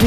Du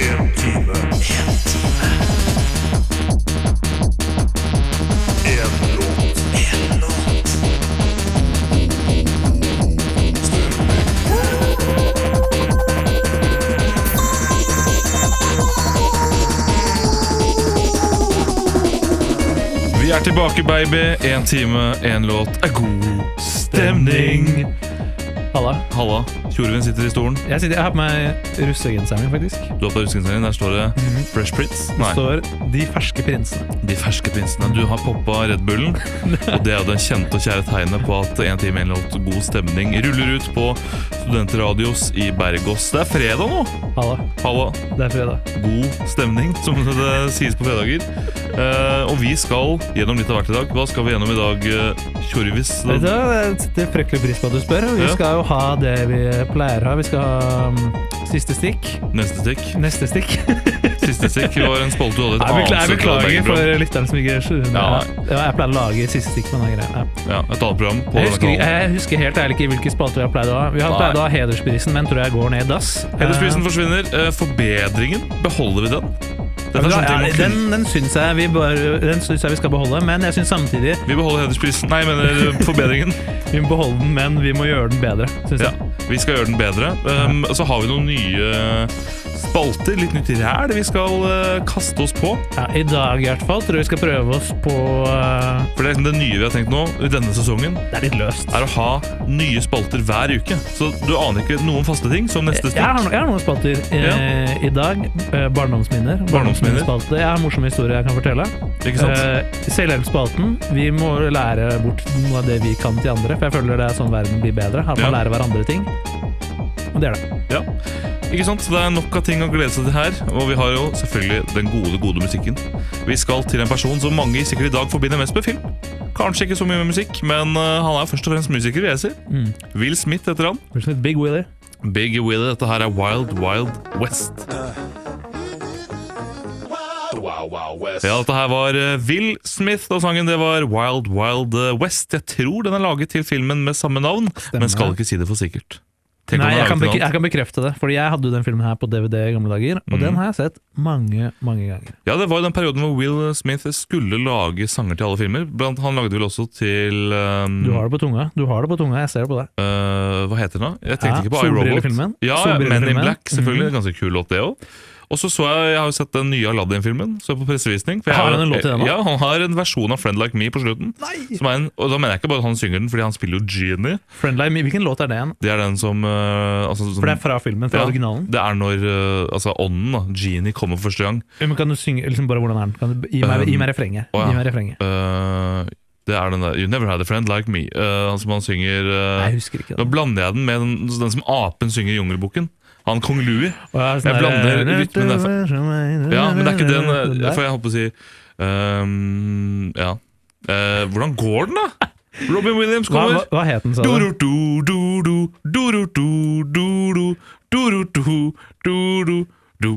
En time. En låt. Vi er tilbake, baby. Én time, én låt er god stemning. Halla. Halla. Tjorven sitter i stolen. Jeg, sitter, jeg har på meg russegenseren min, faktisk. Du har på ruskenseren din. Der står det Fresh Prince. Det Nei, står 'De ferske prinsene'. De ferske prinsene. Du har poppa Red Bullen. Og det er jo det kjente og kjære tegnet på at én time, én låt, god stemning ruller ut på Studentradios i Bergås. Det er fredag nå. Halla. Halla. Det er fredag. God stemning, som det sies på fredager. Eh, og vi skal gjennom litt av hvert i dag. Hva skal vi gjennom i dag, eh, Tjorvis? Vet du, hva? jeg setter fryktelig pris på at du spør. Vi Ja. skal jo ha det vi pleier å ha. Vi skal ha mm, siste stikk. Neste stikk. Neste stikk. Ah, Siste stikk var en spalte du hadde et Jeg beklager, jeg annet beklager for lytteren som ikke skjønner. Ja. Ja, jeg pleier å lage siste stikk med denne greia. Ja. Ja, et annet program på Jeg denne husker, kanalen. jeg husker helt ærlig ikke hvilke spalter vi har pleid å ha. Vi har Nei. pleid å ha Hedersprisen, men tror jeg går ned i dass. Hedersprisen forsvinner. Eh, Forbedringen, beholder vi den? Ja, Dette er sånne ting man ja, kunne- den den syns jeg, vi bør- den syns jeg vi skal beholde, men jeg syns samtidig Vi beholder hedersprisen. Nei, jeg mener eh, forbedringen. Vi må beholde den, men vi må gjøre den bedre. Synes Ja, jeg. vi skal gjøre den bedre. Um, og så har vi noen nye spalter, litt nytt ræl vi skal eh, kaste oss på. Ja, I dag i hvert fall tror jeg vi skal prøve oss på eh, For det er liksom det nye vi har tenkt nå i denne sesongen, Det er litt løst. er å ha nye spalter hver uke. Så du aner ikke noen faste ting som neste Jeg har, stikk. no- jeg har noen spalter eh, i dag. Eh, barndomsminner. Barndomsminner. Barndomsminnespalte. Jeg har en morsom historie jeg kan fortelle. Ikke sant? Eh, Selvhjelpsspalten. Vi må lære bort noe av det vi kan til andre, for jeg føler det er sånn verden blir bedre. Her må man Ja. lære hverandre ting. Og det er det. Ja. Ikke sant? Så Det er nok av ting å glede seg til her. Og vi har jo selvfølgelig den gode, gode musikken. Vi skal til en person som mange sikkert i dag forbinder mest med film. Kanskje ikke så mye med musikk, men eh, han er først og fremst musiker, vil jeg si. Mm. Will Smith heter han. Will Smith, Big Willy. Big Willy, dette her er Wild Wild West. Wow, wow, West. Ja, dette her var eh, Will Smith, og sangen det var Wild Wild eh, West. Jeg tror den er laget til filmen med samme navn, men skal ikke si det for sikkert. Tenk om Nei, den er jeg laget kan, til bekre- noe annet. jeg kan bekrefte det. Fordi jeg hadde jo den filmen her på DVD i gamle dager, Mm. og den har jeg sett mange, mange ganger. Ja, det var jo den perioden hvor Will Smith skulle lage sanger til alle filmer. Blant, han lagde vel også til um, Du har det på tunga, du har det på tunga, jeg ser det på deg. øh, Hva heter den da? Jeg tenkte Ja, Mhm. ikke på iRobot. Solbrillefilmen. Ja, ja, Men in Solbrillefilmen. Black, selvfølgelig. Ganske kul låt, det òg. Og så så jeg, jeg har jo sett den nye Aladdin-filmen. Så jeg på pressevisning for jeg Har han en låt til den da? Ja, han har en versjon av Friend Like Me på slutten. Som er en, og da mener jeg ikke bare at han synger den, fordi han spiller jo Genie. Friendly, Me, hvilken låt er det igjen? Det er den som øh, altså, som- For det er fra filmen, fra ja, originalen. Det er når øh, altså, ånden, da, Genie, kommer for første gang. Men kan du synge liksom bare hvordan er den? Kan du, gi, meg, gi meg refrenget. Å, ja. Gi meg refrenget. Øh, det er den der You never had a friend like me. øh, han som han synger øh, Jeg husker ikke Nå det. blander jeg den med den, den som apen synger i Jungelboken. Han kong Louie. Og er sånn jeg der- blander rytmen altså. sånn Ja, men det er ikke den. eh, For jeg holdt på å si ehm, Ja. Eh, hvordan går den, da? Robin Williams Hva, hva, kommer. hva het den, sa du? Du-ru-du, du-ru, du-ru-du, du-ru, du-ru-du, du-ru, du,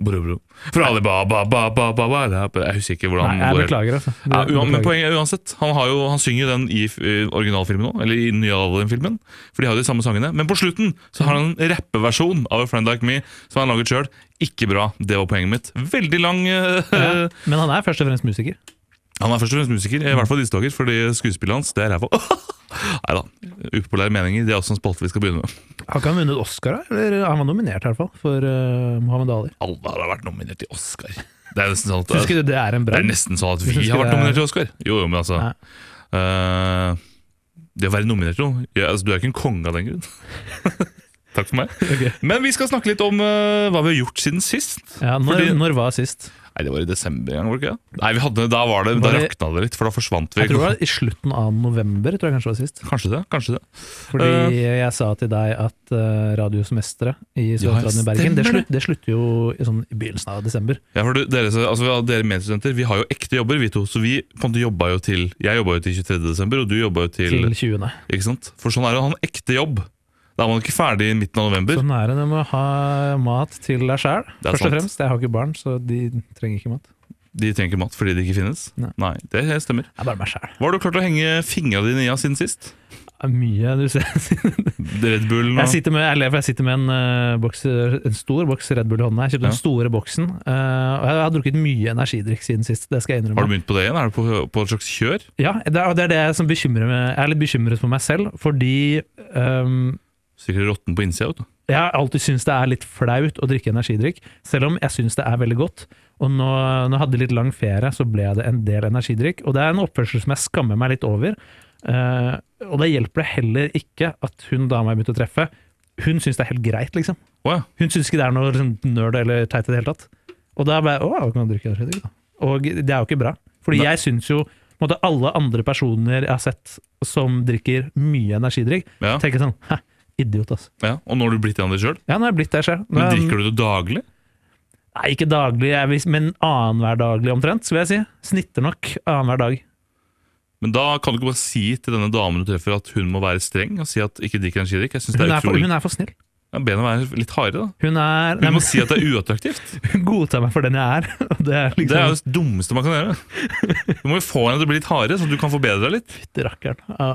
bru-bru. Fra Alibaba, ba, ba, ba, ba, la, ba. Jeg husker ikke hvordan Nei, den jeg går helt. beklager, altså. Ja, uan, men Beklager. poenget er uansett, han, har jo, han synger jo den i, f- i originalfilmen òg, eller i den nye Aladdin-filmen. For de har jo de samme sangene. Men på slutten så har han en rappeversjon av A Friend Like Me som han har laget sjøl. Ikke bra, det var poenget mitt. Veldig lang eh, Ja. Men han er først og fremst musiker. Han er først og fremst musiker, i hvert fall disse dager, fordi skuespillet hans det er ræva. Nei da. Upopulære meninger. Det er også en spalte vi skal begynne med. Har ikke han vunnet Oscar, da? eller eh, han var nominert i hvert fall, for eh, Muhammad Ali? Alle har vært nominert til Oscar. Det er nesten sånn at, Syns ikke du det er en det er bragd? nesten sånn at Jeg vi har synes ikke vært det er- nominert til Oscar. Jo, jo, men altså Nei. eh, Det å være nominert til noe ja, altså, Du er ikke en konge av den grunn. Takk for meg. Ok. Men vi skal snakke litt om eh, hva vi har gjort siden sist. Ja, når, Fordi- når var sist? Nei, det var i desember en gang, var det ikke det? Nei, vi hadde, da, var det, Var da det- rakna det litt, for da forsvant vi. Jeg tror det var i slutten av november. tror jeg kanskje var sist. Kanskje det. kanskje det Fordi Eh. jeg sa til deg at uh, Radios Mestere i Studentradioen i Bergen det, stemmer det. slutt, det slutter jo i, sånn, i begynnelsen av desember. Ja, for du, dere, altså, ja, dere medstudenter, vi har jo ekte jobber, vi to. Så vi på en måte jobba jo til Jeg jobba jo til 23. desember, og du jobba jo til, Til 20. Ikke sant? For sånn er det å ha en ekte jobb. Da er man ikke ferdig i midten av november. Sånn er det. Du må ha mat til deg sjæl. Det er Først og sant. fremst. Jeg har ikke barn, så de trenger ikke mat. De trenger ikke mat fordi det ikke finnes. Nei. det stemmer. Det er bare meg sjæl. Hva har du klart å henge fingra dine i av siden sist? Mye du ser. Red Bullen Jeg og sitter med, jeg lever, jeg sitter med en, eh, boks, en stor boks Red Bull i hånda. Jeg kjøpte Ja. den store boksen. eh, og jeg har drukket mye energidrikk siden sist, det skal jeg innrømme. Har du begynt på det igjen? Er du på, på et slags kjør? Ja, det er, og det er det som bekymrer meg. Jeg er litt bekymret for meg selv, fordi ehm, Sikkert råtten på innsida. vet du. jeg har alltid syntes det er litt flaut å drikke energidrikk, selv om jeg syns det er veldig godt. Og nå, nå hadde jeg litt lang ferie, så ble det en del energidrikk. Og det er en oppførsel som jeg skammer meg litt over. Eh, og det hjelper det heller ikke at hun dama jeg begynte å treffe, hun syns det er helt greit, liksom. Å ja. Hun syns ikke det er noe liksom, nerd eller teit i det hele tatt. Og da ble jeg Å, kan jeg drikke energidrikk, da? Og det er jo ikke bra. Fordi Nei. jeg syns jo på en måte, alle andre personer jeg har sett som drikker mye energidrikk, Ja, tenker sånn Hæ, idiot, altså. ja. Og nå har du blitt en av deg sjøl. Ja, nå er jeg blitt der sjøl. Men drikker du det daglig? Nei, ikke daglig, jeg vil, men annenhver daglig omtrent, skulle jeg si. Snitter nok annenhver dag. Men da kan du ikke bare si til denne damen du treffer at hun må være streng og si at ikke drikk energidrikk. Jeg synes det Hun er er, for, utrolig. hun er for snill. Ja, Be henne være litt hardere, da. Hun er Hun Nei, må si at det er uattraktivt. men hun godtar meg for den jeg er. og Det er Det er liksom jo det dummeste man kan gjøre. Du må jo få henne til å bli litt hardere, så du kan forbedre deg litt. Fytti rakkeren. Ja.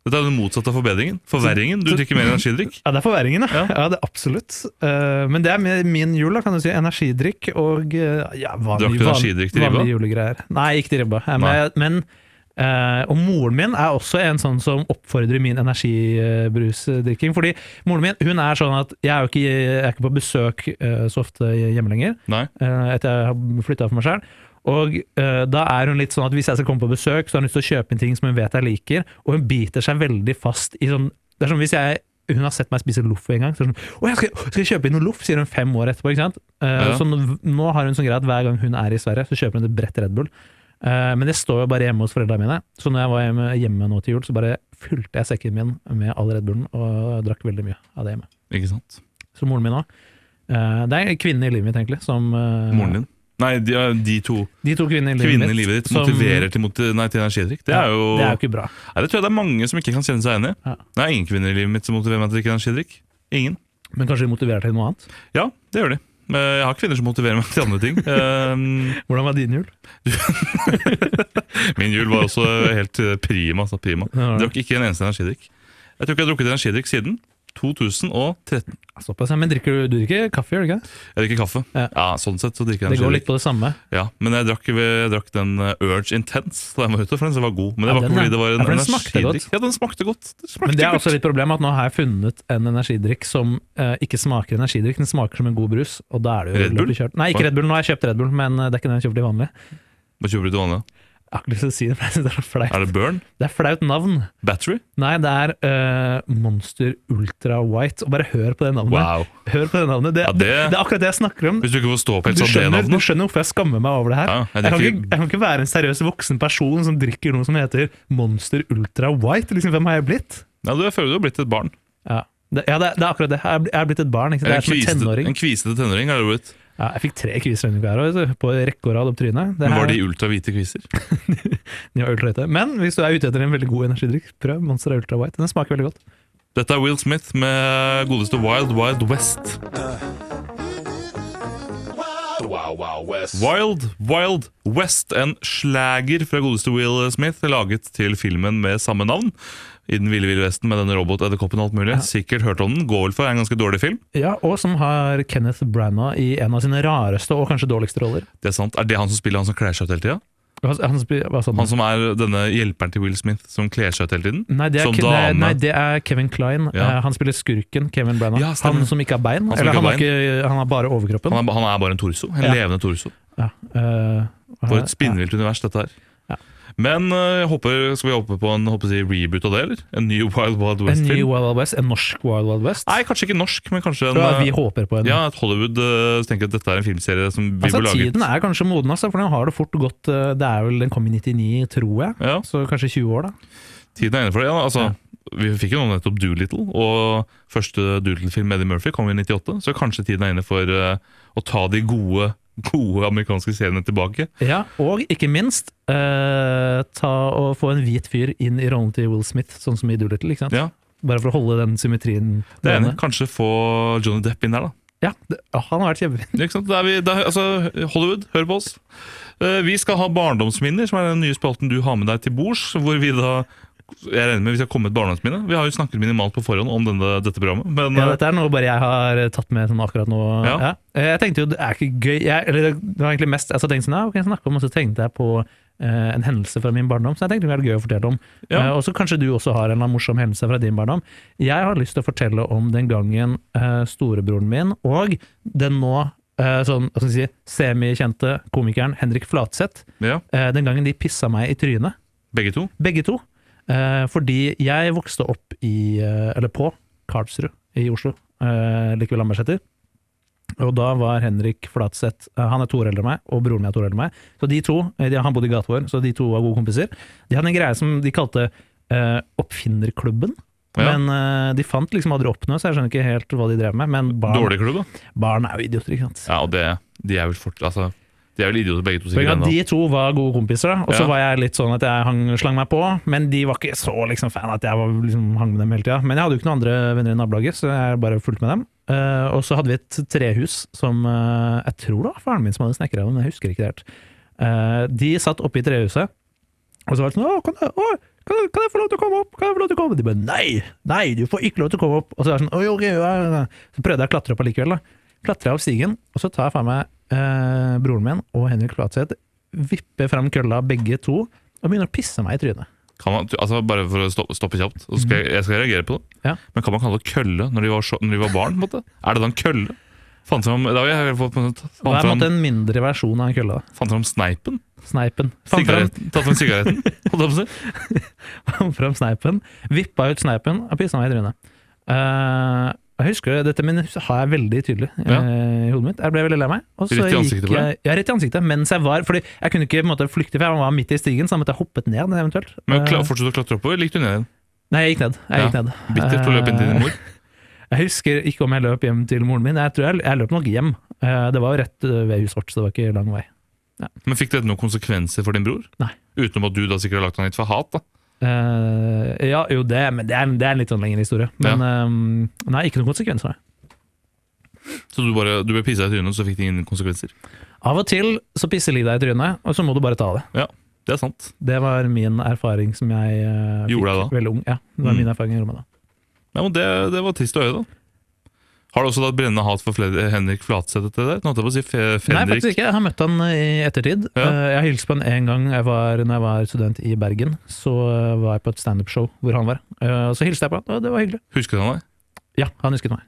Dette er jo det motsatte av forbedringen. Forverringen. Du drikker mer energidrikk. ja, det er forverringen, ja. Ja. ja det er absolutt. Eh, men det er min- min jul, da, kan du si. Energidrikk og eh, ja, Drakk vanlig, du van- energidrikk til ribba? vanlige julegreier. Nei, ikke til ribba. Eh, Men, men eh, og moren min er også en sånn som oppfordrer min energibrusdrikking. Fordi moren min hun er sånn at jeg er jo ikke, jeg er ikke på besøk eh, så ofte hjemme lenger. Nei. eh, etter jeg har flytta for meg sjøl. Og eh, da er hun litt sånn at hvis jeg skal komme på besøk, så har hun lyst til å kjøpe inn ting som hun vet jeg liker, og hun biter seg veldig fast i sånn Det er som hvis jeg hun har sett meg spise loff en gang. Så er hun sånn, å, jeg skal, skal jeg kjøpe inn noe loff, sier hun fem år etterpå. ikke sant? Eh, Ja. Så nå, nå har hun sånn greie at hver gang hun er i Sverige, så kjøper hun et brett Red Bull. Eh, men det står jo bare hjemme hos foreldrene mine. Så når jeg var hjemme, hjemme nå til jul, så bare fylte jeg sekken min med all Red Bullen og drakk veldig mye av det hjemme. Ikke sant. Så moren min òg. det er en kvinne i livet mitt, egentlig. Som, eh, Moren din. Nei, de, de to De to kvinnene i livet kvinnene mitt. i livet ditt som- motiverer til, moti nei, til energidrikk. Det er jo Det er jo ikke bra. Nei, det tror jeg det er mange som ikke kan kjenne seg enig i. Ja. Det er ingen kvinner i livet mitt som motiverer meg til å drikke energidrikk. Ingen. Men kanskje de motiverer til noe annet? Ja, det gjør de. Eh, Jeg har kvinner som motiverer meg til andre ting. Eh, Hvordan var din jul? Min jul var også helt eh, prima. Altså prima. Ja, Jeg drakk ikke en eneste energidrikk. Jeg tror ikke jeg har drukket energidrikk siden 2013. Såpass, ja. Men drikker du, du drikker kaffe, gjør du ikke? Jeg drikker kaffe. Ja. Ja, sånn sett så drikker jeg Det går litt energidrikk. på det samme. Ja, men jeg drakk, jeg drakk den eh, Urge Intense da jeg var ute, for den som var god. Men det Ja, var den ikke er- fordi det var en ja, for den smakte energidrikk. godt. Ja, den smakte godt. Den smakte Men det er altså godt. også litt problem at nå har jeg funnet en energidrikk som eh, ikke smaker energidrikk, den smaker som en god brus, og da er det jo Red Bull? løpet kjørt. Nei, ikke Red Bull, nå har jeg kjøpt Red Bull, men eh, det er ikke den jeg kjøper til vanlig. Hva kjøper du til vanlig? Jeg har ikke lyst til å si det, for jeg synes det er så flaut. Er det Burn? Det er flaut navn. Battery? Nei, det er eh, Monster Ultra White, og bare hør på det navnet. Wow. Hør på det navnet, det, Ja, det... det- er akkurat det jeg snakker om. Hvis du ikke får Du ståpels av sånn det skjønner, du navnet. skjønner hvorfor jeg skammer meg over det her. Ja, jeg jeg, kan drikker- ikke, jeg kan ikke være en seriøs voksen person som drikker noe som heter Monster Ultra White. Liksom, hvem har jeg blitt? Ja, du, jeg føler du har blitt et barn. Ja, det, ja, det, er- det er akkurat det. Jeg er bl- jeg er blitt et barn. Ikke? sant? Eller Jeg er som en tenåring. en kvisete tenåring har det blitt. Ja, jeg fikk tre kviser denne uka her også, på rekke og rad opp trynet. Det Men her- var de ultrahvite kviser? de var ultra hvite. Men hvis du er ute etter en veldig god energidrikk, prøv Monster Ultra White. Den smaker veldig godt. Dette er Will Smith med godeste Wild Wild West. Wow, wow, West. Wild Wild West, en slager fra godeste Will Smith, laget til filmen med samme navn. I Den ville ville vesten med denne robotedderkoppen og alt mulig. Sikkert hørt om den. Går vel for er en ganske dårlig film. Ja, Og som har Kenneth Branagh i en av sine rareste og kanskje dårligste roller. Det Er sant. Er det han som spiller han som kler seg ut hele tida? Han, han, spiller- hva sa den? Han som er denne hjelperen til Will Smith som kler seg ut hele tiden? Nei det, er Som Ke- nei, dame. nei, det er Kevin Klein. Ja. Eh, Han spiller skurken Kevin Branagh. Ja, stemmer. han som ikke har bein. som eller ikke han, har har ikke, han har bare overkroppen. Han er, han er bare en torso. En Ja. levende torso. ja. eh, For et spinnvilt univers, dette her. Ja. Men eh, jeg håper, skal vi hoppe på en håper jeg, reboot av det, eller? En ny Wild Wild En ny West-film? Wild Wild West, en norsk Wild Wild West. Nei, kanskje ikke norsk, men kanskje en Ja, vi eh, håper på en. Ja, at Hollywood eh, tenker at dette er en filmserie som vi altså, bør lage. tiden er kanskje moden, altså, for den har det fort gått eh, Det er vel Den kom i 99, tror jeg. Ja, Så kanskje 20 år, da. tiden er inne for det. Ja, altså, Ja. Vi fikk jo nå nettopp Doolittle, og første Doolittle-film med Eddie Murphy kom i 98, så kanskje tiden er inne for eh, å ta de gode, gode amerikanske seriene tilbake. Ja, Og ikke minst eh, ta og få en hvit fyr inn i rollen til Will Smith, sånn som i Doolittle. Ikke sant? Ja. Bare for å holde den symmetrien. Det ene. gående. Kanskje få Johnny Depp inn der, da. Ja, det, ja, han har vært kjempefin. Ikke sant? Da er vi, da, altså, Hollywood, hør på oss. Eh, vi skal ha barndomsminner, som er den nye spalten du har med deg til bords. Hvor vi da Jeg regner med vi skal komme med et barndomsminne. Vi har jo snakket minimalt på forhånd om denne, dette programmet. Men Ja, eh, dette er noe bare jeg har eh, tatt med sånn akkurat nå. Ja. Eh, Jeg tenkte jo det er ikke gøy jeg, Eller det det var egentlig mest Jeg så tenkte sånn, ja, hva kan jeg snakke om, og så tenkte jeg på eh, en hendelse fra min barndom som jeg tenkte det ville vært gøy å fortelle om. Ja. Eh, og så kanskje du også har en eller annen morsom hendelse fra din barndom. Jeg har lyst til å fortelle om den gangen eh, storebroren min og den nå eh, sånn, hva skal jeg si, semikjente komikeren Henrik Flatseth, ja, eh, den gangen de pissa meg i trynet. begge to. Begge to. Eh, fordi jeg vokste opp i, eh, eller på Karlsrud i Oslo, eh, like ved Lambertseter. Og da var Henrik Flatseth eh, Han er to år eldre enn meg, og broren min er to år eldre enn meg. Så de to, eh, de, Han bodde i gata vår, så de to var gode kompiser. De hadde en greie som de kalte eh, Oppfinnerklubben. Ja. Men eh, de fant liksom aldri opp noe, så jeg skjønner ikke helt hva de drev med. Men barn, Dårlig klubb, da. barn er jo idioter, ikke sant. Ja, og det, de er vel fort, altså, de er vel idioter begge to. Poenget er sikkert at ennå. de to var gode kompiser, da. og så Ja. var jeg litt sånn at jeg hang, slang meg på. Men de var ikke så liksom, fan at jeg var, liksom, hang med dem hele tida. Men jeg hadde jo ikke noen andre venner i nabolaget, så jeg bare fulgte med dem. Eh, og så hadde vi et trehus som eh, jeg tror det var faren min som hadde snekra det, men jeg husker ikke det helt. Eh, de satt oppe i trehuset, og så var det sånn Å, kan jeg, å, kan, jeg, kan jeg få lov til å komme opp? Kan jeg få lov til å komme opp? De bare nei! Nei, du får ikke lov til å komme opp! Og så, var det sånn, «Oi, ok, ja, ja, ja». så prøvde jeg å klatre opp allikevel. Da. Klatra jeg opp stigen, og så tar jeg faen meg eh, broren min og Henrik Flatseth, vipper fram kølla begge to, og begynner å pisse meg i trynet. Kan man, altså, bare for å stoppe, stoppe kjapt, så skal jeg, jeg skal reagere på det. Mhm. Ja. Men kan man kalle det kølle når de var, så, når de var barn? på en måte? Er det da en kølle? Fant fram, da har jeg fått, fant, Og det er på en fram, måte en mindre versjon av en kølle. da. fant fram sneipen. Sneipen. Fant fram, Sigaretten. Tatt fram sigaretten. holdt jeg på å si. fant fram sneipen, vippa ut sneipen og pissa meg i trynet. Eh, jeg husker jo dette, men har jeg veldig tydelig eh, Ja. i hodet mitt. Jeg ble veldig lei meg. Og så Rett i gikk ansiktet på jeg- Ja, rett i ansiktet. Mens jeg var Fordi jeg kunne ikke på en måte, flykte, for jeg var midt i stigen, så da måtte jeg hoppet ned eventuelt. Men Eh, kla- fortsatte å klatre oppover, gikk du ned igjen. Nei, jeg gikk ned. Jeg gikk Ja, ned. Eh, Bittert på løpet inn til din mor. Jeg husker ikke om jeg løp hjem til moren min. Jeg tror jeg, jeg løp nok hjem. Eh, Det var jo rett eh, ved huset vårt, så det var ikke lang vei. Men Fikk dette noen konsekvenser for din bror? Nei. Utenom at du da sikkert har lagt han litt for hat? da. Eh, ja, jo det, men det er, det er en litt sånn lengre historie. Men eh, nei, ikke noen konsekvenser, nei. Så du bare, du ble pissa i trynet, så fikk det ingen konsekvenser? Av og til så pisser livet deg i trynet, og så må du bare ta det. Ja, det er sant. Det var min erfaring som jeg eh, fikk Gjorde jeg da? veldig ung. Ja, det var Mm. min erfaring jeg gjorde med det. Nei, men det, det var trist å høre, da. Har du også da et brennende hat for Fred Henrik Flatseth etter det? der? Nå holdt jeg på å si Fe Nei, Fredrik. faktisk ikke. Jeg har møtt han i ettertid. Ja. Eh, Jeg hilste på han en gang jeg var, når jeg var student i Bergen. Så eh, var jeg på et standup-show hvor han var. Eh, Og så hilste jeg på han, og det var hyggelig. Husker du han deg? Ja, han husket meg.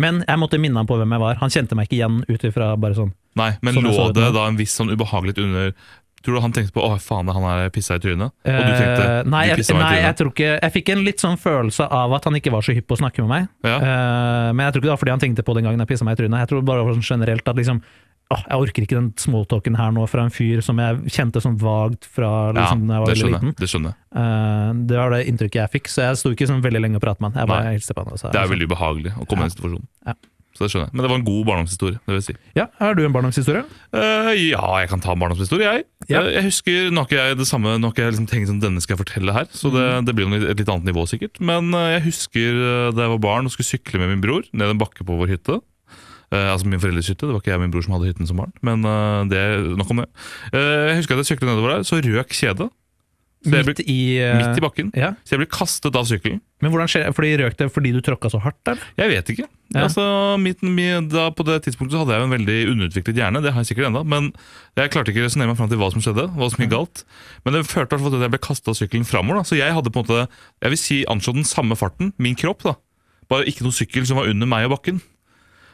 Men jeg måtte minne han på hvem jeg var. Han kjente meg ikke igjen ut ifra bare sånn. Nei, men Sånn jeg lå så ut det nå. da en viss sånn ubehagelig under Tror du han tenkte på 'Å, faen, han er pissa i trynet'? Og du tenkte Eh, nei, du jeg, pisset meg nei, i jeg trynet. tror ikke Jeg fikk en litt sånn følelse av at han ikke var så hypp på å snakke med meg. Ja. Eh, men jeg tror ikke det var fordi han tenkte på den gangen jeg pissa meg i trynet. Jeg tror bare det var sånn generelt at liksom Åh, jeg orker ikke den smalltalken her nå fra en fyr som jeg kjente sånn vagt fra ja, liksom, da jeg var det veldig skjønner liten. jeg. Det skjønner jeg. Eh, det var det inntrykket jeg fikk, så jeg sto ikke sånn veldig lenge og pratet med han. Jeg Nei. bare hilste på han. og sa- Det er veldig ubehagelig å komme i den situasjonen. Ja. Så det skjønner jeg. Men det var en god barndomshistorie. det vil si. Ja, Har du en barndomshistorie? Eh, ja, jeg kan ta en barndomshistorie, jeg. Ja. Eh, jeg husker nå har ikke jeg det samme, nå har ikke jeg liksom tenkt sånn, denne skal jeg fortelle her, så det, Mm. det blir jo et litt annet nivå sikkert. Men eh, jeg husker eh, da jeg var barn og skulle sykle med min bror ned en bakke på vår hytte. Eh, altså min foreldres hytte, det var ikke jeg og min bror som hadde hytten som barn. Men eh, det, nok om det. Eh, jeg husker at jeg syklet nedover der, så røk kjedet. Så jeg ble, Midt i, eh, midt i bakken. Ja. Så jeg ble kastet av sykkelen. Men hvordan skjer Fordi røk det fordi du tråkka så hardt, eller? Jeg vet ikke. Ja. Altså, mitt, mi- da, på det tidspunktet så hadde jeg jo en veldig underutviklet hjerne, det har jeg sikkert enda, men jeg klarte ikke å resonnere meg fram til hva som skjedde, hva Mm. som gikk galt. Men det førte i hvert fall til at jeg ble kasta av sykkelen framover. Da. Så jeg hadde på en måte, jeg vil si anslått den samme farten, min kropp, da. bare ikke noen sykkel som var under meg og bakken.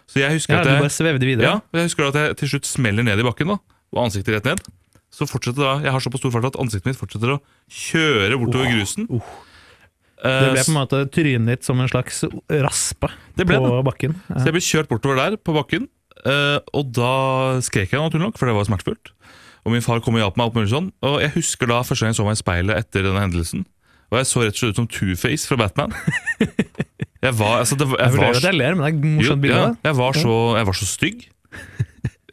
Så jeg husker Ja, at du jeg, bare svevde videre. ja, jeg husker at jeg til slutt smeller ned i bakken da, og ansiktet rett ned. Så fortsetter da, Jeg har såpass stor fart at ansiktet mitt fortsetter å kjøre bortover grusen. Det ble Eh, på en måte trynet ditt som en slags raspe Det ble på det. bakken. Ja. Så jeg ble kjørt bortover der på bakken, eh, og da skrek jeg naturlig nok, for det var smertefullt. Og min far kom og hjalp meg, alt mulig sånn. Og jeg husker da første gang jeg så meg i speilet etter denne hendelsen. Og jeg så rett og slett ut som Two-Face fra Batman. Jeg var, altså, det, var- Jeg jeg var, vurderer at jeg ler, men det er et morsomt jo, bilde. ja, da. jeg var, så, jeg var så stygg.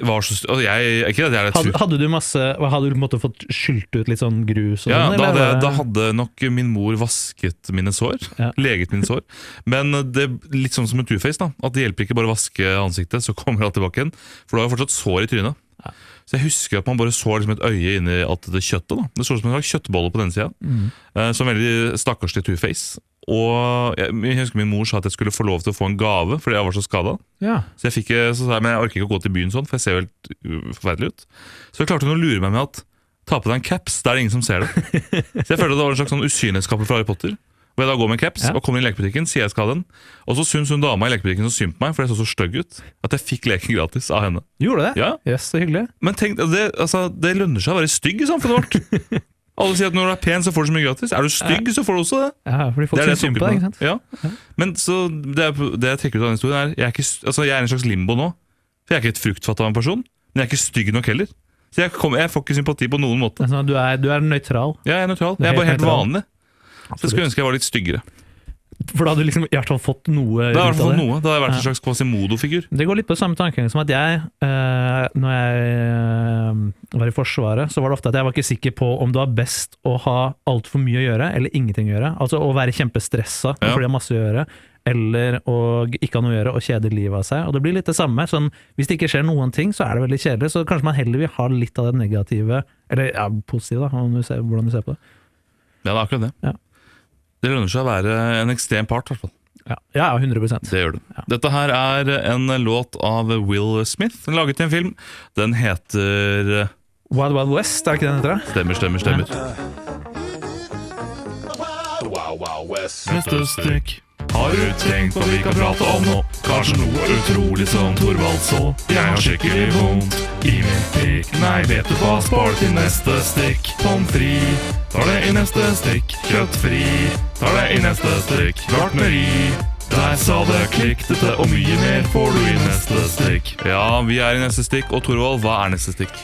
var så st- altså, jeg, Ikke at jeg er et Hadde, super- hadde du masse Hadde du på en måte fått skylt ut litt sånn grus og ja, sånn? da, hadde, var jeg- det- da hadde nok min mor vasket mine sår. Ja. Leget mine sår. Men det er litt sånn som en tuface. da At det hjelper ikke bare å vaske ansiktet, så kommer alt tilbake igjen. For du har jo fortsatt sår i trynet. Så jeg husker at man bare så liksom et øye inni alt det kjøttet. da Det så ut som en slags kjøttbolle på den sida. Eh, som veldig stakkarslig tuface. Og jeg, jeg husker min mor sa at jeg skulle få lov til å få en gave fordi jeg var så skada. ja. Så jeg fikk, så sa jeg, men jeg orker ikke å gå til byen sånn, for jeg ser jo helt uh, forferdelig ut. Så klarte hun å lure meg med at ta på deg en caps, da er det ingen som ser det. Så jeg følte det var en slags sånn usynlighetskappe fra Harry Potter. Hvor jeg da går med en caps Ja. og kommer inn i lekebutikken, sier jeg skal ha den. Og så syns hun dama i lekebutikken så synd på meg, for jeg så så stygg ut, at jeg fikk leken gratis av henne. Gjorde det? Ja. Jøss, så hyggelig. Men tenk, det, altså, det lønner seg å være stygg i samfunnet vårt. Alle sier at når du er pen, så får du så mye gratis. Er du stygg, så får du også det. Ja, fordi folk Det er det jeg syns synd tenker på deg, ikke sant? på. Ja. Men så det, er, det jeg trekker ut av den historien, er jeg er, ikke, altså, jeg er i en slags limbo nå. For jeg er ikke et fruktfatt av en person, men jeg er ikke stygg nok heller. Så jeg, kommer, jeg får ikke sympati på noen Det måte. er sånn at du, er, du er nøytral. Jeg er nøytral. er Jeg er bare helt helt nøytral. vanlig. Så jeg skulle ønske jeg var litt styggere. For da hadde du liksom i hvert fall fått noe Det er i hvert ut av fall det. noe. Da hadde jeg vært en slags Quasimodo-figur. Det går litt på samme tankegang som at jeg, eh, når jeg eh, var i Forsvaret, så var det ofte at jeg var ikke sikker på om det var best å ha altfor mye å gjøre, eller ingenting å gjøre. Altså å være kjempestressa Ja. fordi det er masse å gjøre, eller å ikke ha noe å gjøre og kjede livet av seg. Og det blir litt det samme. Sånn, hvis det ikke skjer noen ting, så er det veldig kjedelig. Så kanskje man heller vil ha litt av det negative, eller ja, positive, da, om du ser, hvordan du ser på det. Ja, det er akkurat det. Ja. Det lønner seg å være en ekstrem part, i hvert fall. Ja, ja 100 Det gjør det. Dette her er en låt av Will Smith, laget i en film. Den heter Wild Wild West, er det ikke det den heter? da? Stemmer, stemmer, stemmer. The Wild Wild West. Nøttestikk. Har du tenkt på vi kan prate om nå? Kanskje noe utrolig som Thorvald så? Jeg har skikkelig vondt i min pikk. Nei, vet du hva, spar det til neste stikk. Pommes frites tar det i neste stikk. Kjøttfri tar det i neste stikk. Gartneri. Der sa det klikk, dette og mye mer får du i neste stikk. Ja, vi er i neste stikk, og Thorvald, hva er neste stikk?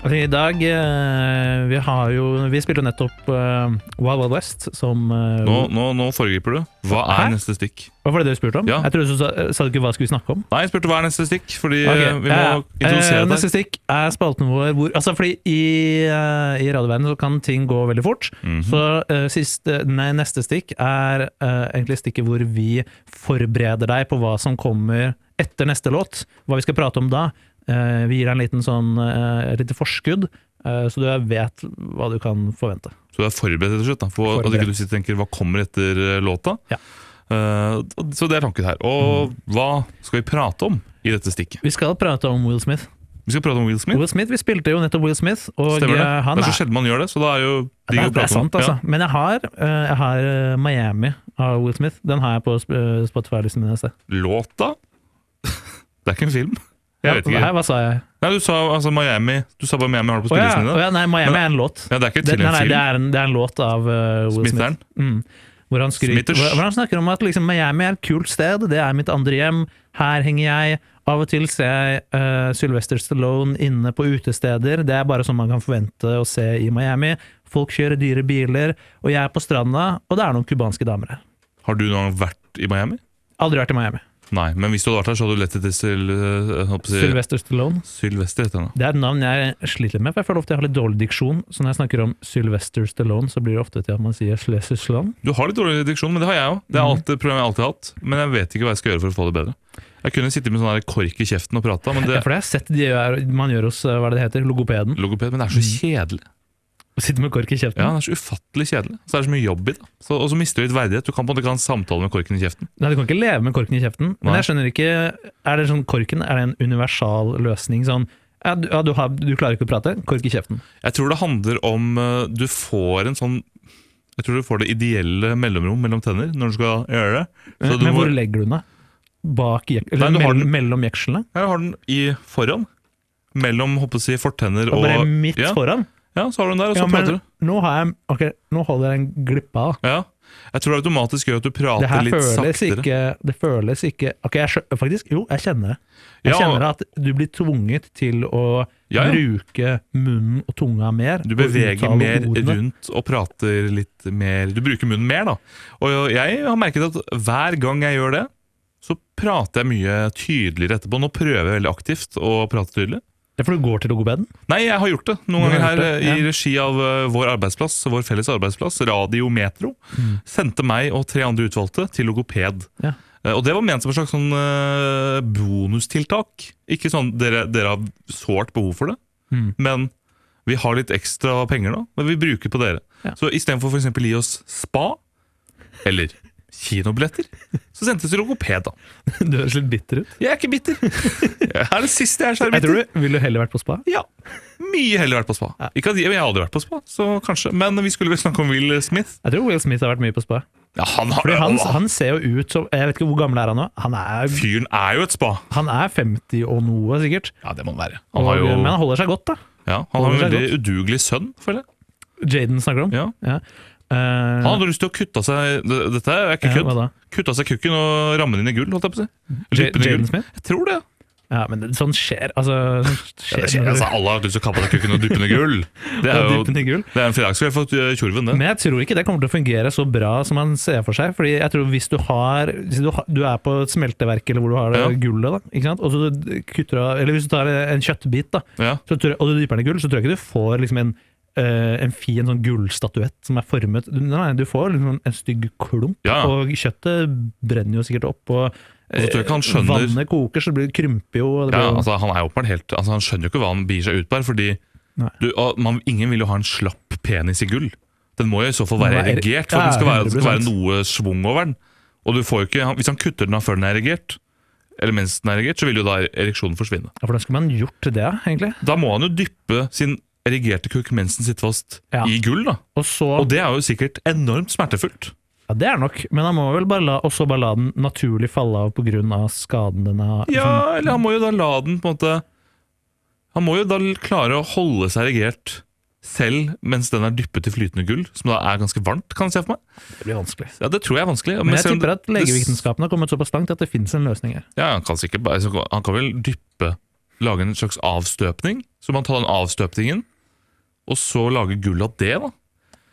I dag eh, vi har jo Vi spilte nettopp eh, Wild Wild West som eh, Nå, nå, nå foregriper du. Hva er Hæ? neste stikk? Hva var det du spurte om? Ja. Jeg trodde du sa, eh, sa du ikke hva skulle vi snakke om. Nei, jeg spurte hva er neste stikk, fordi Ok, eh, vi må ja, ja. introdusere Eh, deg. Neste stikk er spalten vår hvor Altså fordi i, eh, i radioverdenen så kan ting gå veldig fort. Mhm. Så eh, siste, nei, neste stikk er eh, egentlig stikket hvor vi forbereder deg på hva som kommer etter neste låt. Hva vi skal prate om da. Eh, vi gir deg en liten sånn eh, et lite forskudd, eh, så du vet hva du kan forvente. Så du er forberedt til slutt, da, for at Forberedt. ikke du sitter og tenker 'hva kommer etter eh, låta'? Ja. Mm. Eh, og- så det er tanken her. Og hva skal vi prate om i dette stikket? Vi skal prate om Will Smith. Vi skal prate om Will Smith. Will Smith, Vi spilte jo nettopp Will Smith, og Stemmer det? eh, han det er er så sjelden man gjør det, så da er jo det digg er, å det er prate om. sant, altså. Men jeg har, eh, jeg har eh, Miami av Will Smith. Den har jeg på sp- eh, Spotify-listen min et sted. Ja. Låta? det er ikke en film. Ja, Jeg vet ikke. Her, hva sa jeg? Nei, du sa altså Miami Du sa bare Miami har det på Å ja, spillelisten din. å da. ja, nei, Miami Men- er en låt. Ja, det er ikke Det, til nei, en nei, det, film. er en, det er en låt av eh, Will Smith er den. Smith. Mm. Hvor, han skryter, Smithers. hvor, hvor han snakker om at liksom, Miami er et kult sted, det er mitt andre hjem, her henger jeg. Av og til ser jeg eh, Sylvester Stallone inne på utesteder, det er bare sånn man kan forvente å se i Miami. Folk kjører dyre biler, og jeg er på stranda, og det er noen cubanske damer her. Har du noen gang vært i Miami? Aldri vært i Miami. Nei, men hvis du hadde vært her, så hadde du lett etter Syl... eh, jeg holdt på å si- Sylvester Stallone. Sylvester heter han. da. Det er et navn jeg sliter litt med, for jeg føler ofte jeg har litt dårlig diksjon. Så når jeg snakker om Sylvester Stallone, så blir det ofte til at man sier Sylvester Stallone. Du har litt dårlig diksjon, men det har jeg òg. Det Mhm. er alltid et problem jeg alltid har hatt. Men jeg vet ikke hva jeg skal gjøre for å få det bedre. Jeg kunne sittet med sånn her kork i kjeften og prata, men det Ja, for det har jeg sett de gjør, man gjør hos eh, hva er det Mm. det heter, logopeden. logoped, men det er så kjedelig. Sitter med kork i kjeften. Ja, det er så ufattelig kjedelig. Så er det så mye jobb i det. Så- Og så mister du litt verdighet. Du kan på en måte ikke ha en samtale med korken i kjeften. Nei, Du kan ikke leve med korken i kjeften. Men Nei. jeg skjønner ikke Er det sånn korken er det en universal løsning? Sånn ja, du, ja, du, har, du klarer ikke å prate, kork i kjeften. Jeg tror det handler om eh, Du får en sånn Jeg tror du får det ideelle mellomrom mellom tenner når du skal gjøre det. Så du Eh, Men må, hvor legger du den, da? Bak jek eller Nei, du har den- mellom, mellom jekslene? jeg har den i foran. Mellom håper jeg å si, fortenner Da og Bare midt ja, foran? ja, så har du den der, og så Ja, prater du. men nå, har jeg, ok, nå holder jeg en glippe av. Ja. Jeg tror det automatisk gjør at du prater Det her litt føles saktere. ikke, det føles ikke Ok, jeg skjø, faktisk, jo, jeg kjenner det. Jeg Ja. kjenner at du blir tvunget til å Ja, ja. bruke munnen og tunga mer. Du og beveger uttale mer ordene. rundt og prater litt mer Du bruker munnen mer, da. Og jeg har merket at hver gang jeg gjør det, så prater jeg mye tydeligere etterpå. Nå prøver jeg veldig aktivt å prate tydelig. Det er for du går til logopeden? Nei, jeg har gjort det noen Du har ganger her gjort det, eh, i ja. regi av eh, vår arbeidsplass, vår felles arbeidsplass, Radio Metro. Mm. Sendte meg og tre andre utvalgte til logoped. Ja. Eh, Og det var ment som et slags sånn eh, bonustiltak. Ikke sånn dere, dere har sårt behov for det, Mm. men vi har litt ekstra penger nå, men vi bruker på dere. Ja. Så istedenfor f.eks. gi oss spa eller kinobilletter, så sendtes det logoped, da. Du høres litt bitter ut. Jeg er ikke bitter. Jeg er det siste jeg er så Jeg bitter. tror du ville heller vært på spa. Ja. Mye heller vært på spa. Ikke at jeg, jeg hadde vært på spa, så kanskje. Men vi skulle vel snakke om Will Smith. Jeg tror Will Smith har vært mye på spa. Ja, han, har, Fordi han, Åh, han ser jo ut som Jeg vet ikke hvor gammel er han nå. Han er, Fyren er jo et spa. han er 50 og noe, sikkert. Ja, det må han være. Og, Han har jo Men han holder seg godt, da. ja, han har en holder seg veldig udugelig sønn, føler jeg. Jaden snakker om. Ja. Ja. Eh, Han hadde lyst til å kutte av seg d- Dette er ikke Ja, kødd. hva da? Kutte av seg kukken og ramme den inn i gull, holdt jeg på å si. J- Lippen i Jaden gull. Smith? Jeg tror det. ja, men det- sånn skjer. Altså, sånt Ja, det skjer skjer, når du- altså, alle har lyst til å kappe av seg kukken og dyppe den i gull. Det er Ja, jo dyppe den i gull. Det er en fredagskveld for eh, Tjorven, det. Men jeg tror ikke det kommer til å fungere så bra som man ser for seg. Fordi jeg tror hvis du har Hvis du, har, du er på et smelteverk eller hvor du har det Ja. gullet, da, ikke sant? og så du kutter du av Eller hvis du tar en kjøttbit, da, Ja. så tror, jeg- og du dyper den i gull, så tror jeg ikke du får liksom en eh, en fin sånn gullstatuett som er formet Du- Nei, du får liksom en stygg klump, Ja. og kjøttet brenner jo sikkert opp. Og, eh, Og så tror jeg ikke han skjønner- vannet koker, så det blir, krymper jo. Og det Ja, blir, jo- altså Han er åpenbart helt altså, Han skjønner jo ikke hva han bier seg ut på her. Fordi Nei. du, og man, ingen vil jo ha en slapp penis i gull. Den må jo i så fall være Den må være- erigert, for den skal Ja, være, det skal være 100%. noe schwung over den. Og du får jo ikke, han- Hvis han kutter den av før den er erigert, eller mens den er erigert, så vil jo da ereksjonen forsvinne. ja, Hvordan skulle man gjort det, egentlig? Da må han jo dyppe sin erigerte kukk mens den sitter fast Ja. i gull. da Og så Og det er jo sikkert enormt smertefullt. Ja, det er nok, men han må vel bare la, også bare la den naturlig falle av pga. skaden den har. Ja, eller han må jo da la den på en måte Han må jo da klare å holde seg erigert selv mens den er dyppet i flytende gull, som da er ganske varmt, kan jeg se for meg. Det blir vanskelig. Ja, Det tror jeg er vanskelig. Men jeg selv om tipper at det- legevitenskapen har kommet såpass langt at det finnes en løsning her. Ja, Han kan sikkert bare, så han kan vel dyppe Lage en slags avstøpning. Så må han ta den avstøpningen, og så lage gull av det, da.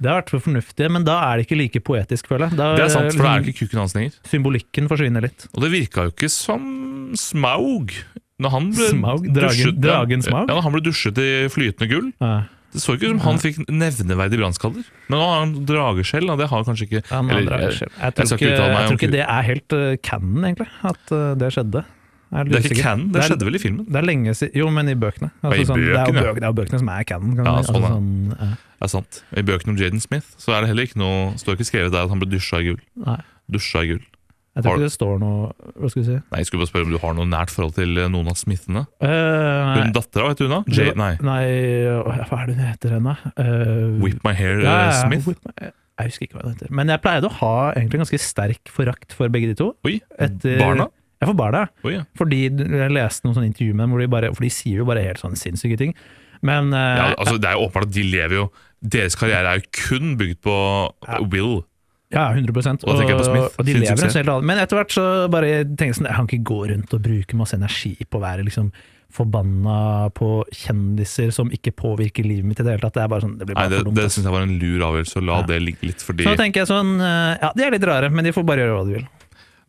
Det har vært for fornuftig, men da er det ikke like poetisk, føler jeg. Da, Det er sant, for da er liksom, det ikke kukken hans lenger. Symbolikken forsvinner litt. Og det virka jo ikke som Smaug. Når han ble Smaug? Dragen- dusjet, ja. dragen Smaug? Ja, når han ble dusjet i flytende gull. Ja. Det så ikke ut som han fikk nevneverdige brannskader. Men nå har han drageskjell, og det har kanskje ikke Han eller, eh, andre er jeg- selv. jeg tror skal ikke, ikke uttale meg jeg om tror ikke ku- det er helt uh, canon, egentlig, at uh, det skjedde. Jeg litt Det er ikke usikker. canon, det er- skjedde vel i filmen? Det er lenge siden Jo, men i bøkene. Altså sånn, i det, er bøkene, ja. jo bøkene, det er jo bøkene som er canon. Kan Ja, man si. sånn, altså, sånn, ja. Det er sant. I bøkene om Jaden Smith så er det heller ikke noe, står ikke skrevet der at han ble dusja i gull. Nei. Dusja i gull. Jeg Har- tror ikke det står noe Hva skal vi si? Nei, Jeg skulle bare spørre om du har noe nært forhold til eh, noen av smithene. Uh, nei. Hun dattera, vet du hva? Ja, nei. åh, hva er det hun heter henne? Eh, Whip My Hair eh, ja, ja, ja, Smith. Whip my- jeg husker ikke hva hun heter. Men jeg pleide å ha egentlig ganske sterk forakt for begge de to. Oi, Etter- barna? Ja, for barna. Oi, ja. Fordi jeg leste noen sånne intervju med dem, hvor de bare, for de sier jo bare helt sånne sinnssyke ting. Men eh, ja, altså Det er jo åpenbart at de lever jo Deres karriere er jo kun bygd på eh, Will. Ja, 100 Og da tenker jeg på Smith. og de Sin lever en suksess. helt annen Men etter hvert så bare tenker jeg sånn Jeg kan ikke gå rundt og bruke masse energi på å være liksom forbanna på kjendiser som ikke påvirker livet mitt i det hele tatt. Det er bare sånn Det blir Nei, bare Det, for dumt. det ass. syns jeg var en lur avgjørelse å la Ja. det ligge litt, fordi Så da tenker jeg sånn eh, Ja, de er litt rare, men de får bare gjøre hva de vil.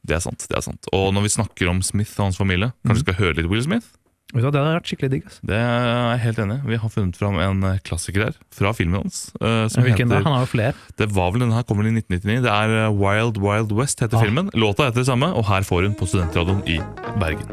det er sant. det er sant Og når vi snakker om Smith og hans familie, kanskje vi skal høre litt Will Smith? Vet du hva, Det hadde vært skikkelig digg. ass. Det er jeg helt enig i. Vi har funnet fram en eh, klassiker her, fra filmen hans. eh, som Hvilken da? heter, Han har jo flere. det var vel denne her, kommer den i 1999. Det er eh, Wild Wild West heter Ah. filmen. Låta heter det samme, og her får hun på studentradioen i Bergen.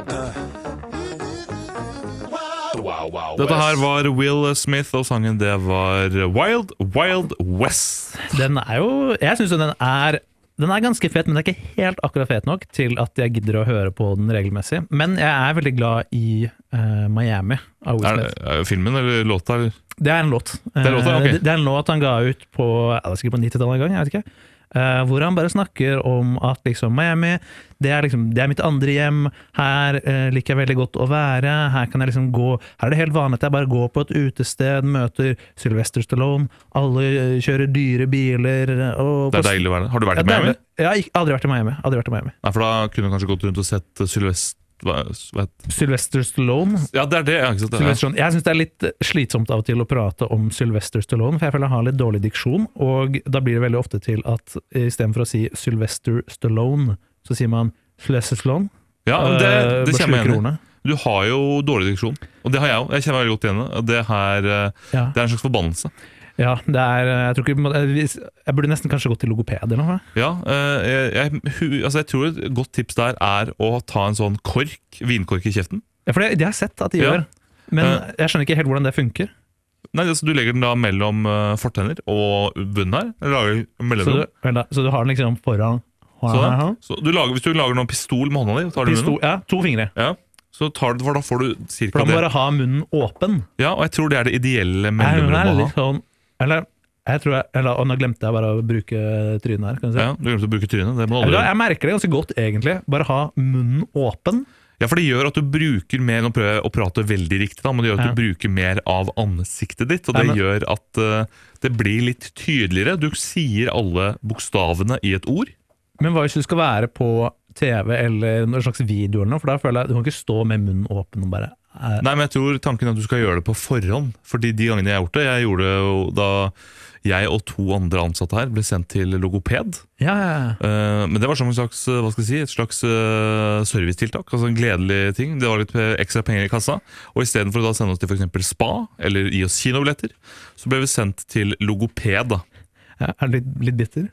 Wow, wow, Dette her West. var Will Smith, og sangen det var Wild Wild West. Den er jo Jeg syns jo den er den er ganske fet, men den er ikke helt akkurat fet nok til at jeg gidder å høre på den regelmessig. Men jeg er veldig glad i eh, Miami av Will Er, Smith. det- er det filmen eller låta? eller? Det er en låt. er låta, Eh, ok. det- det er en låt han ga ut på ja, det er sikkert på 90-tallet en gang, jeg vet ikke. Eh, hvor han bare snakker om at liksom Miami, det er, liksom, det er mitt andre hjem. Her eh, liker jeg veldig godt å være. Her kan jeg liksom gå Her er det helt vanlig at jeg bare går på et utested, møter Sylvester Stallone. Alle eh, kjører dyre biler. eh, Og Det på- er deilig å være der. Har du vært Ja, i Miami? deilig. Ja, jeg har aldri vært i Miami. Aldri vært i Miami. Nei, for da kunne du kanskje gått rundt og sett eh, Sylvester hva, hva het- Sylvester Stallone Ja, det er det. Ja, ikke sant? Det er- Sylvester Stallone. Jeg syns det er litt slitsomt av og til å prate om Sylvester Stallone, for jeg føler han har litt dårlig diksjon, og da blir det veldig ofte til at istedenfor å si Sylvester Stallone, eh, så sier man Sylvester Stallone. Ja, men det, det kjenner Eh, jeg bare meg igjen i. slurker ordene. Du har jo dårlig diksjon, og det har jeg òg. Jeg kjenner meg veldig godt igjen i det. Det, her, eh, Ja. det er en slags forbannelse. Ja, det er eh, Jeg tror ikke eh, hvis- Jeg burde nesten kanskje gått til logoped eller noe. Ja, eh, jeg, jeg, hu- altså jeg tror et godt tips der er å ta en sånn kork, vinkork i kjeften. Ja, for det, det har jeg sett at de Ja. gjør, men Eh. jeg skjønner ikke helt hvordan det funker. Nei, altså Du legger den da mellom eh, fortenner og bunnen her. Lager Så du, mellomrom. vel da, så du har den liksom foran Sånn. Så du lager, hvis du lager noen pistol med hånda di, og tar den i Pistol, munnen, ja, to fingre. ja, så tar du, for da får du For cirka da må du det. bare ha munnen åpen. Ja, og jeg tror det er det ideelle Nei, men det er mellomrommet å litt ha. sånn Eller jeg tror jeg eller, å, Nå glemte jeg bare å bruke trynet her. Kan du si. Ja, Du glemte å bruke trynet. Det må Eller du da, aldri. Jeg merker det ganske godt, egentlig. Bare ha munnen åpen. Ja, For det gjør at du bruker mer Nå prøver jeg å prate veldig riktig, da, men det gjør at Ja. du bruker mer av ansiktet ditt. Og Nei, det men- gjør at eh, det blir litt tydeligere. Du sier alle bokstavene i et ord. Men hva hvis du skal være på TV eller noen slags video, eller noe, for da føler jeg du kan ikke stå med munnen åpen og bare eh, Nei, men jeg tror tanken er at du skal gjøre det på forhånd. Fordi de gangene jeg har gjort det Jeg gjorde det jo da jeg og to andre ansatte her ble sendt til logoped. Ja, ja, ja. Eh, men det var som en slags, eh, hva skal jeg si, et slags eh, servicetiltak. Altså en gledelig ting. Det var litt eh, ekstra penger i kassa. Og istedenfor å da sende oss til f.eks. spa eller gi oss kinobilletter, så ble vi sendt til logoped. da Ja, Er du litt, litt bitter?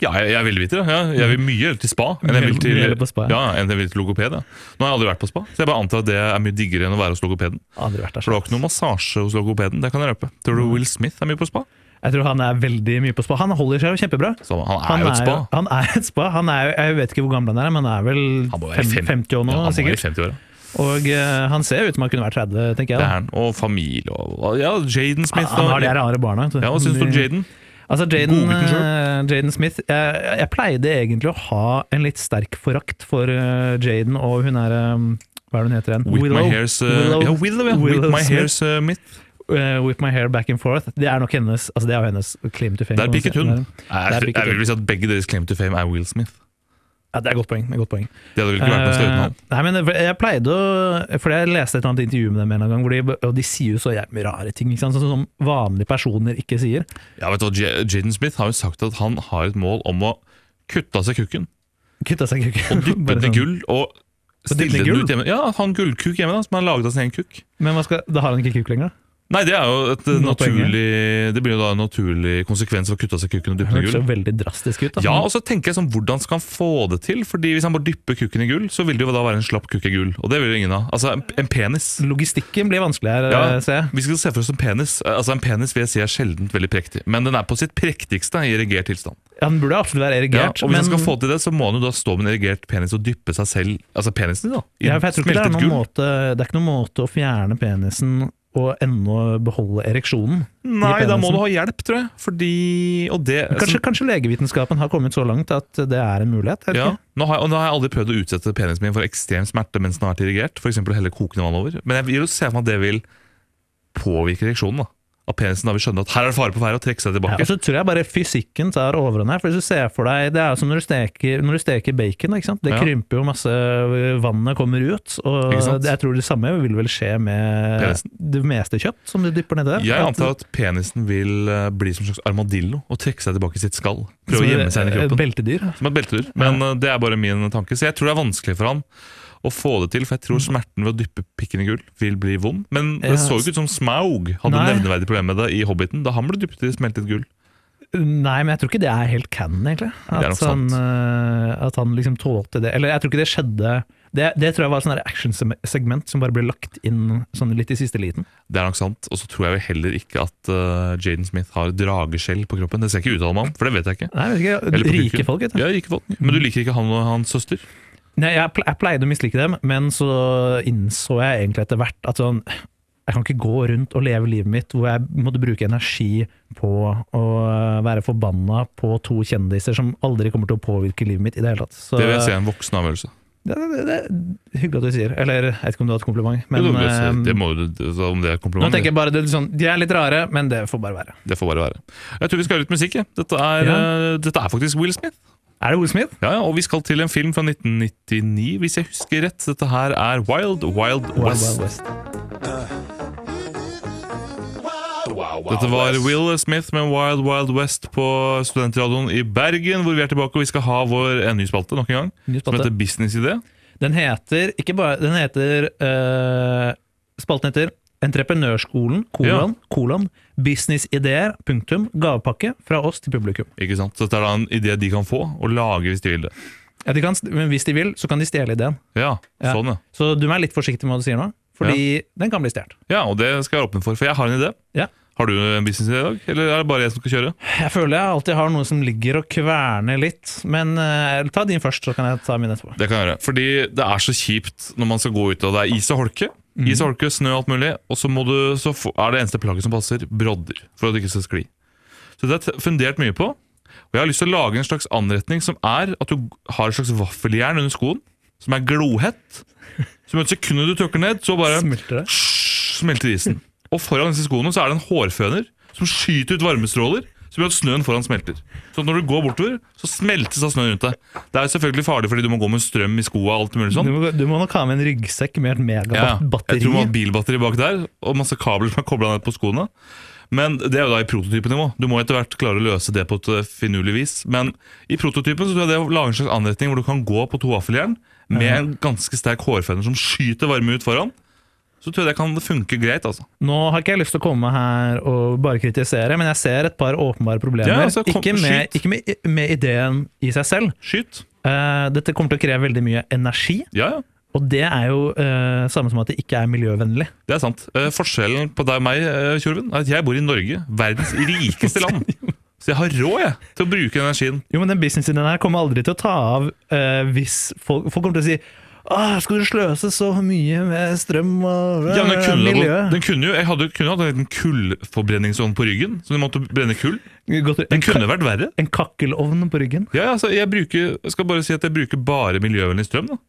ja, jeg, jeg er veldig bitter. Ja. Jeg vil mye heller til spa enn jeg vil Mye- til, mye heller på spa, ja. ja, enn jeg vil til logoped. Ja. Nå har jeg aldri vært på spa, så jeg bare antar at det er mye diggere enn å være hos logopeden. Aldri vært der. For det var ikke noe massasje hos logopeden, det kan jeg røpe. Tror du Will Smith er mye på spa? Jeg tror han er veldig mye på spa. Han holder seg jo kjempebra. Så han er jo et spa. han er et spa. Han er, jo- jeg vet ikke hvor gammel han er, men han er vel Han må være fem, fem- 50 år nå, Ja, han var i sikkert. 50 år, Og eh, han ser jo ut som han kunne vært 30, tenker jeg. det er Da. han. Og familie og Ja, Jaden Smith. Han har de da. rare barna. vet du. Ja, Hva syns du om De- Jaden? Altså, Jaden, Googlet den eh, Jaden Smith jeg, jeg pleide egentlig å ha en litt sterk forakt for eh, Jaden, og hun er eh, Hva er det hun heter igjen? With my hairs uh, Willow. Ja, Willow, ja. Willow With my Smith. hairs uh, myth. Eh, Whip my hair back and forth. Det er nok hennes altså det er jo hennes claim to fame. Der kan man pikket si. hun. Det er- Jeg, pikket jeg vil vel si at begge deres claim to fame er Will Smith. Ja, det er et godt poeng. Det er et godt poeng. Det hadde vel ikke vært noe sted uten han. Eh, Nei, men jeg- jeg pleide å For jeg leste et eller annet intervju med dem en eller annen gang, hvor de, og de sier jo så jævlig rare ting, ikke sant? Sånn som vanlige personer ikke sier. Ja, vet du, hva, J- Jaden Smith har jo sagt at han har et mål om å kutte av seg kukken, Kutta seg i kuken. Bare dyppe den i sånn. gull og dyppe den i stille den gull? ut hjemme. Ja, han gullkuk hjemme da, som har laget av sin egen kukk. Men hva skal, da har han ikke kuk lenger? da? Nei, det er jo et Nå naturlig Det blir jo da en naturlig konsekvens av å kutte av seg kukken og dyppe den i Hørtes jo gull. veldig drastisk ut. da. Ja, og så tenker jeg sånn, Hvordan skal han få det til? Fordi Hvis han bare dypper kukken i gull, så vil det jo da være en slapp kukk i gull. Og det vil jo ingen ha. Altså, en- en penis. Logistikken blir vanskelig her, Ja. eh, ser jeg. Vi skal se for oss en penis. Altså, en penis vil jeg si er sjeldent veldig prektig. Men den er på sitt prektigste i erigert tilstand. Ja, den burde absolutt være Ja, erigert. og hvis han skal men- få til det, så må han jo da stå med en erigert penis og dyppe seg selv, altså penisen da, i ja, for jeg tror ikke det, er smeltet noen gull. måte, det er ikke noen måte å fjerne penisen og ennå beholde ereksjonen. i Nei, da må penisen. du ha hjelp, tror jeg. Fordi Og det Kanskje, kanskje legevitenskapen har kommet så langt at det er en mulighet? jeg vet Ja, ikke. nå har, jeg, og nå har jeg aldri prøvd å utsette penisen min for ekstrem smerte mens den har vært irrigert. For eksempel å helle kokende vann over. Men jeg vil jo se for meg at det vil påvirke ereksjonen. da. At penisen da vil skjønne at her er det fare på ferde, og trekke seg Ja, tilbake. og så tror jeg bare fysikken tar overhånd her. For hvis du ser for deg, Det er jo som når du steker, når du steker bacon. ikke sant? Det Ja. krymper jo masse, vannet kommer ut. Og Ikke sant? det- jeg tror det samme vil vel skje med Penisen. det meste kjøtt som du dypper nedi der. Jeg antar at penisen vil eh, bli som en slags armadillo og trekke seg tilbake i sitt skall. Prøve å gjemme seg inn i kroppen. Beltedyr. Som et beltedyr. Men eh, det er bare min tanke. Så jeg tror det er vanskelig for han å få det til. For jeg tror smerten ved å dyppe pikken i gull vil bli vond. Men det Mm. Ja. så jo ikke ut som Smaug hadde Nei. nevneverdig problem med det i Hobbiten. Da han ble dyppet i smeltet gull. Nei, men jeg tror ikke det er helt canon, egentlig. er At, nok sant. han, eh, at han liksom tålte det. Eller jeg tror ikke det skjedde. Det, det tror jeg var et actionsegment som bare ble lagt inn sånn litt i siste liten. Det er nok sant. Og så tror jeg vel heller ikke at eh, Jaden Smith har drageskjell på kroppen. Det skal jeg ikke uttale meg om, for det vet jeg ikke. Nei, jeg vet Eller ikke, på Rike kuken. folk, vet du. Ja, rike folk. Men du liker ikke han og hans søster? Nei, jeg, ple- jeg pleide å mislike dem, men så innså jeg egentlig etter hvert at sånn jeg kan ikke gå rundt og leve livet mitt hvor jeg måtte bruke energi på å være forbanna på to kjendiser som aldri kommer til å påvirke livet mitt i det hele tatt. Så Det vil jeg si er en voksen avgjørelse. Det, det, det er hyggelig at du sier. Eller jeg vet ikke om du har et kompliment. Men Jo, det vil jeg si. eh, det må, jo- det- altså, om det er et nå kompliment, tenker jeg bare det er litt sånn, De er litt rare, men det får bare være. det får bare være. Jeg tror vi skal høre litt musikk. jeg. Dette er, Ja. eh, dette er faktisk Will Smith. Er det Will Smith? Ja, ja, og vi skal til en film fra 1999, hvis jeg husker rett. Dette her er Wild Wild Wild West. Wild West. Wow, wow, Dette var West. Will Smith med Wild Wild West på Studentradioen i Bergen, hvor vi er tilbake og vi skal ha vår en ny spalte nok en gang, Ny som spalte. heter Businessidé. Den heter ikke bare Den heter eh, Spalten heter Entreprenørskolen, kolon, kolon, businessidéer, punktum, gavepakke fra oss til publikum. Ikke sant? Så dette er da en idé de kan få, og lage hvis de vil det. Ja, de kan, men hvis de vil, så kan de stjele ideen. Ja, Ja. sånn ja. Så du må være litt forsiktig med hva du sier nå, fordi den kan bli stjålet. Ja, og det skal jeg være åpen for, for jeg har en idé. Ja. Har du en businessidé i dag, eller er det bare jeg som skal kjøre? Jeg føler jeg alltid har noe som ligger og kverner litt, men eh, ta din først, så kan jeg ta min etterpå. Det kan jeg gjøre. Fordi det er så kjipt når man skal gå ut, og det er is og holke. Is og holke, snø og alt mulig. Og så, må du, så få- er det eneste plagget som passer, brodder. For at det ikke skal skli. Så det har jeg t- fundert mye på. Og jeg har lyst til å lage en slags anretning som er at du har et slags vaffeljern under skoen, som er glohett. Som et sekund du tråkker ned, så bare Smulter det? smelter isen. Og foran disse skoene så er det en hårføner som skyter ut varmestråler som gjør at snøen foran smelter. Så når du går bortover, så smeltes av snøen rundt deg. Det er selvfølgelig farlig fordi du må gå med strøm i skoa og alt mulig Du sånn. må, du må nok ha med en ryggsekk med et Ja, jeg megabatteri. tror man har bilbatteri bak der, og masse kabler som er kobla ned på skoene. Men det er jo da i prototypenivå. Du må etter hvert klare å løse det på et eh, finurlig vis. Men i prototypen så tror jeg det er å lage en slags anretning hvor du kan gå på to vaffeljern med en ganske sterk hårføner som skyter varme ut foran. Så tror jeg det kan funke greit, altså. Nå har ikke jeg lyst til å komme her og bare kritisere, men jeg ser et par åpenbare problemer. Ja, altså, kom- ikke med, skyt. ikke med, med ideen i seg selv. Skyt. Eh, dette kommer til å kreve veldig mye energi, Ja, ja. og det er jo eh, samme som at det ikke er miljøvennlig. Det er sant. Eh, forskjellen på deg og meg, eh, Tjorven, er at jeg bor i Norge. Verdens rikeste land. Så jeg har råd jeg, til å bruke den energien. Jo, men den businessen her kommer aldri til å ta av eh, hvis folk, folk kommer til å si Åh, skal du sløse så mye med strøm og eh, Ja, men den kunne, miljø? den kunne jo, jeg hadde, kunne hatt en liten kullforbrenningsovn på ryggen, så du måtte brenne kull. Godt- Den en, ka- kunne vært verre. en kakkelovn på ryggen? Ja, ja, altså, jeg, bruker, jeg skal bare si at jeg bruker bare miljøvennlig strøm. Da.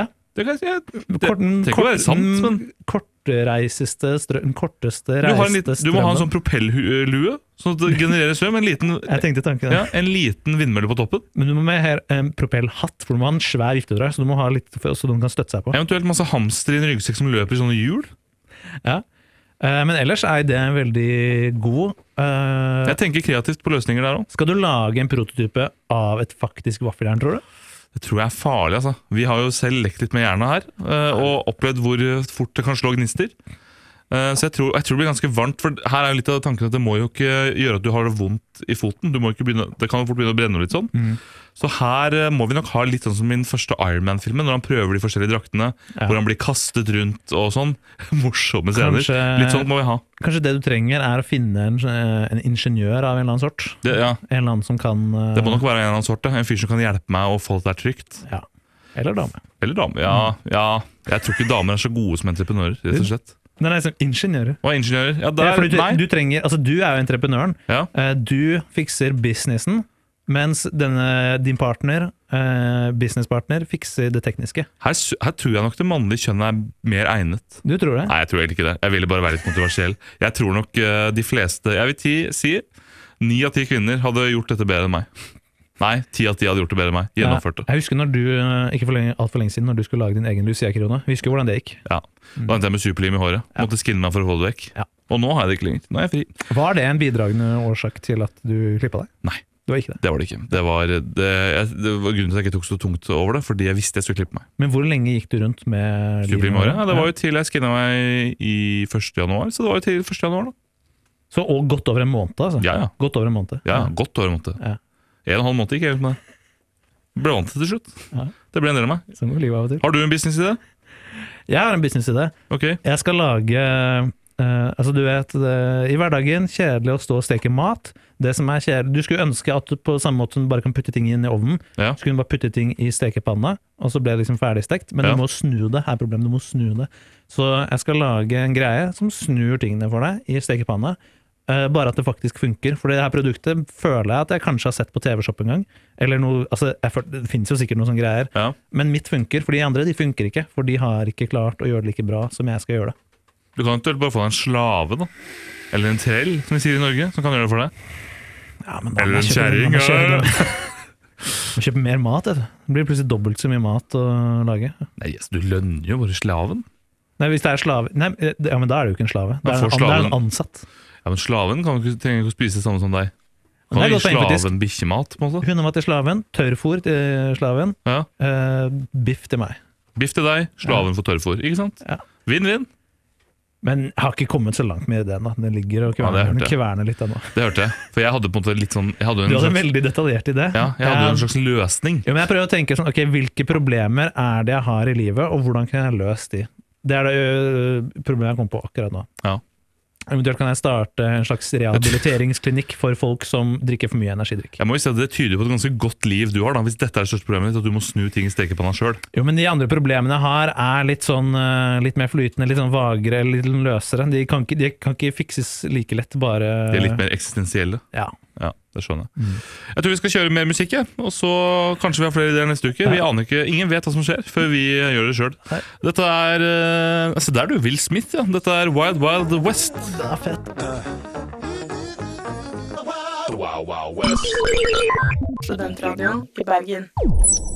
Ja. Det kan jeg, jeg, det, Kort- trenger ikke å være sant, den men Kortreiseste strøm, den korteste du, har en reiste liten, du må ha en sånn strømmen. propellue, sånn at det genererer strøm. En liten, Jeg tenkte tanken, ja, en liten vindmølle på toppen. Men du må med her, en propellhatt, for du må ha en svær viftedrag, så du må ha litt for- så noen kan støtte seg på. Eventuelt masse hamster i en ryggsekk som løper i sånne hjul. Ja. Eh, men ellers er ideen veldig god. Eh, Jeg tenker kreativt på løsninger der òg. skal du lage en prototype av et faktisk vaffeljern, tror du? Det tror jeg er farlig, altså. Vi har jo selv lekt litt med hjernen her, eh, og opplevd hvor fort det kan slå gnister. Eh, Så jeg tror, jeg tror det blir ganske varmt, for her er jo litt av tanken at det må jo ikke gjøre at du har det vondt i foten. Du må jo ikke begynne, det kan jo fort begynne å brenne og litt sånn. Mm. Så her eh, må vi nok ha litt sånn som i den første Iron Man-filmen, når han prøver de forskjellige draktene, Ja. hvor han blir kastet rundt og sånn. Morsomme scener. Kanskje- Litt sånt må vi ha. Kanskje det du trenger er å finne en, eh, en ingeniør av en eller annen sort? Det, ja. En eller annen som kan eh, det må nok være en eller annen sort. da. En fyr som kan hjelpe meg å få det der trygt. Ja. Eller dame. Eller damer. Ja, ja, jeg tror ikke damer er så gode som entreprenører. rett og slett. Nei, nei, som liksom ingeniører. Og ingeniører. Ja, Ja, der, fordi nei. du, du, trenger, altså, du er jo entreprenøren. Ja. Eh, Du fikser businessen, mens denne, din partner, eh, businesspartner, fikser det tekniske. Her, s- her tror jeg nok det mannlige kjønnet er mer egnet. Du tror det? Nei, jeg tror egentlig ikke det. Jeg ville bare være litt kontroversiell. Jeg tror nok eh, de fleste Jeg vil ti, si ni av ti kvinner hadde gjort dette bedre enn meg. Nei, ti av ti hadde gjort det bedre enn meg. Gjennomført det. Jeg husker når du, eh, ikke for lenge, alt for lenge siden, når du skulle lage din egen Lucia-krone. Vi Husker hvordan det gikk. Ja. Da endte jeg med superlim i håret. Måtte skinne meg for å få det vekk. Ja. Og nå har jeg det ikke lenger. Nå er jeg fri. Var det en bidragende årsak til at du klippa deg? Nei. Det var ikke det. Det var det ikke. Det var, eh, det, jeg, det var grunnen til at jeg ikke tok så tungt over det, fordi jeg visste jeg skulle klippe meg. Men hvor lenge gikk du rundt med Superlim i livet? håret? Ja, det var jo til jeg skinna meg i 1. januar, så det var jo til 1. januar, da. Så og godt over en måned, altså? Ja, ja. Godt over en måned. Ja, Godt over en måned. Ja. En og en halv måned gikk jeg ut med det. Ble vant til det til slutt. Ja. Det ble en del av meg. Sånn går livet av og til. Har du en businessidé? Jeg har en businessidé. Ok. Jeg skal lage eh, Altså, du vet det, I hverdagen, kjedelig å stå og steke mat. Det som er kjedelig Du skulle ønske at du på samme måte som du bare kan putte ting inn i ovnen, Ja. så kunne du bare putte ting i stekepanna, og så ble det liksom ferdigstekt. Men Ja. du må snu det. Her er problemet, du må snu det. Så jeg skal lage en greie som snur tingene for deg i stekepanna. eh, bare at det faktisk funker. For det her produktet føler jeg at jeg kanskje har sett på TV-shop en gang. Eller noe, altså, jeg føler, Det finnes jo sikkert noen sånne greier. Ja. Men mitt funker, for de andre de funker ikke. For de har ikke klart å gjøre det like bra som jeg skal gjøre det. Du kan eventuelt bare få deg en slave, da. Eller en trell, som vi sier i Norge, som kan gjøre det for deg. Ja, men da Eller må en jeg kjøpe- kjerring, da må jeg ja. kjøpe- Må kjøpe mer mat. vet du. Det blir plutselig dobbelt så mye mat å lage. Nei, yes, du lønner jo bare slaven. Nei, hvis det er slave Nei, eh, ja, men da er det jo ikke en slave. Da Da er det får en, det er slaven- en ansatt. Ja, Men slaven kan jo ikke, trenger ikke å spise det samme som deg. Men Kan det er du gi godt poeng, faktisk. slaven bikkjemat? på en måte? Hundemat til slaven, tørrfôr til slaven, Ja. eh, biff til meg. Biff til deg, slaven får tørrfôr. Ikke sant? Ja. Vinn-vinn. Men jeg har ikke kommet så langt med ideen. da. Den ligger og Ja, det kverner, hørte den jeg. kverner litt ennå. Det hørte jeg. For jeg hadde på en måte litt sånn jeg hadde en Du hadde en slags, veldig detaljert idé. ja, jeg hadde jo en Eh, slags løsning. jo, men jeg prøver å tenke sånn, ok, Hvilke problemer er det jeg har i livet, og hvordan kan jeg løse de? Det er det ø, problemet jeg kom på akkurat nå. Ja. Eventuelt kan jeg starte en slags rehabiliteringsklinikk for folk som drikker for mye energidrikk. Jeg må jo si at Det tyder på et ganske godt liv du har, da, hvis dette er det største problemet ditt, at du må snu ting i stekepanna sjøl. Jo, men De andre problemene jeg har, er litt sånn ø, litt mer flytende, litt sånn vagere, litt løsere. De kan ikke, de kan ikke fikses like lett, bare De er litt mer eksistensielle. ja. Ja, det skjønner Jeg Jeg tror vi skal kjøre mer musikk, jeg. og så kanskje vi har flere ideer neste uke. Vi aner ikke, Ingen vet hva som skjer før vi gjør det sjøl. Nei. Dette er eh, Se der, du. Will Smith, ja. Dette er Wild Wild West. Det er fett. Wow, wow, west. Studentradioen i Bergen.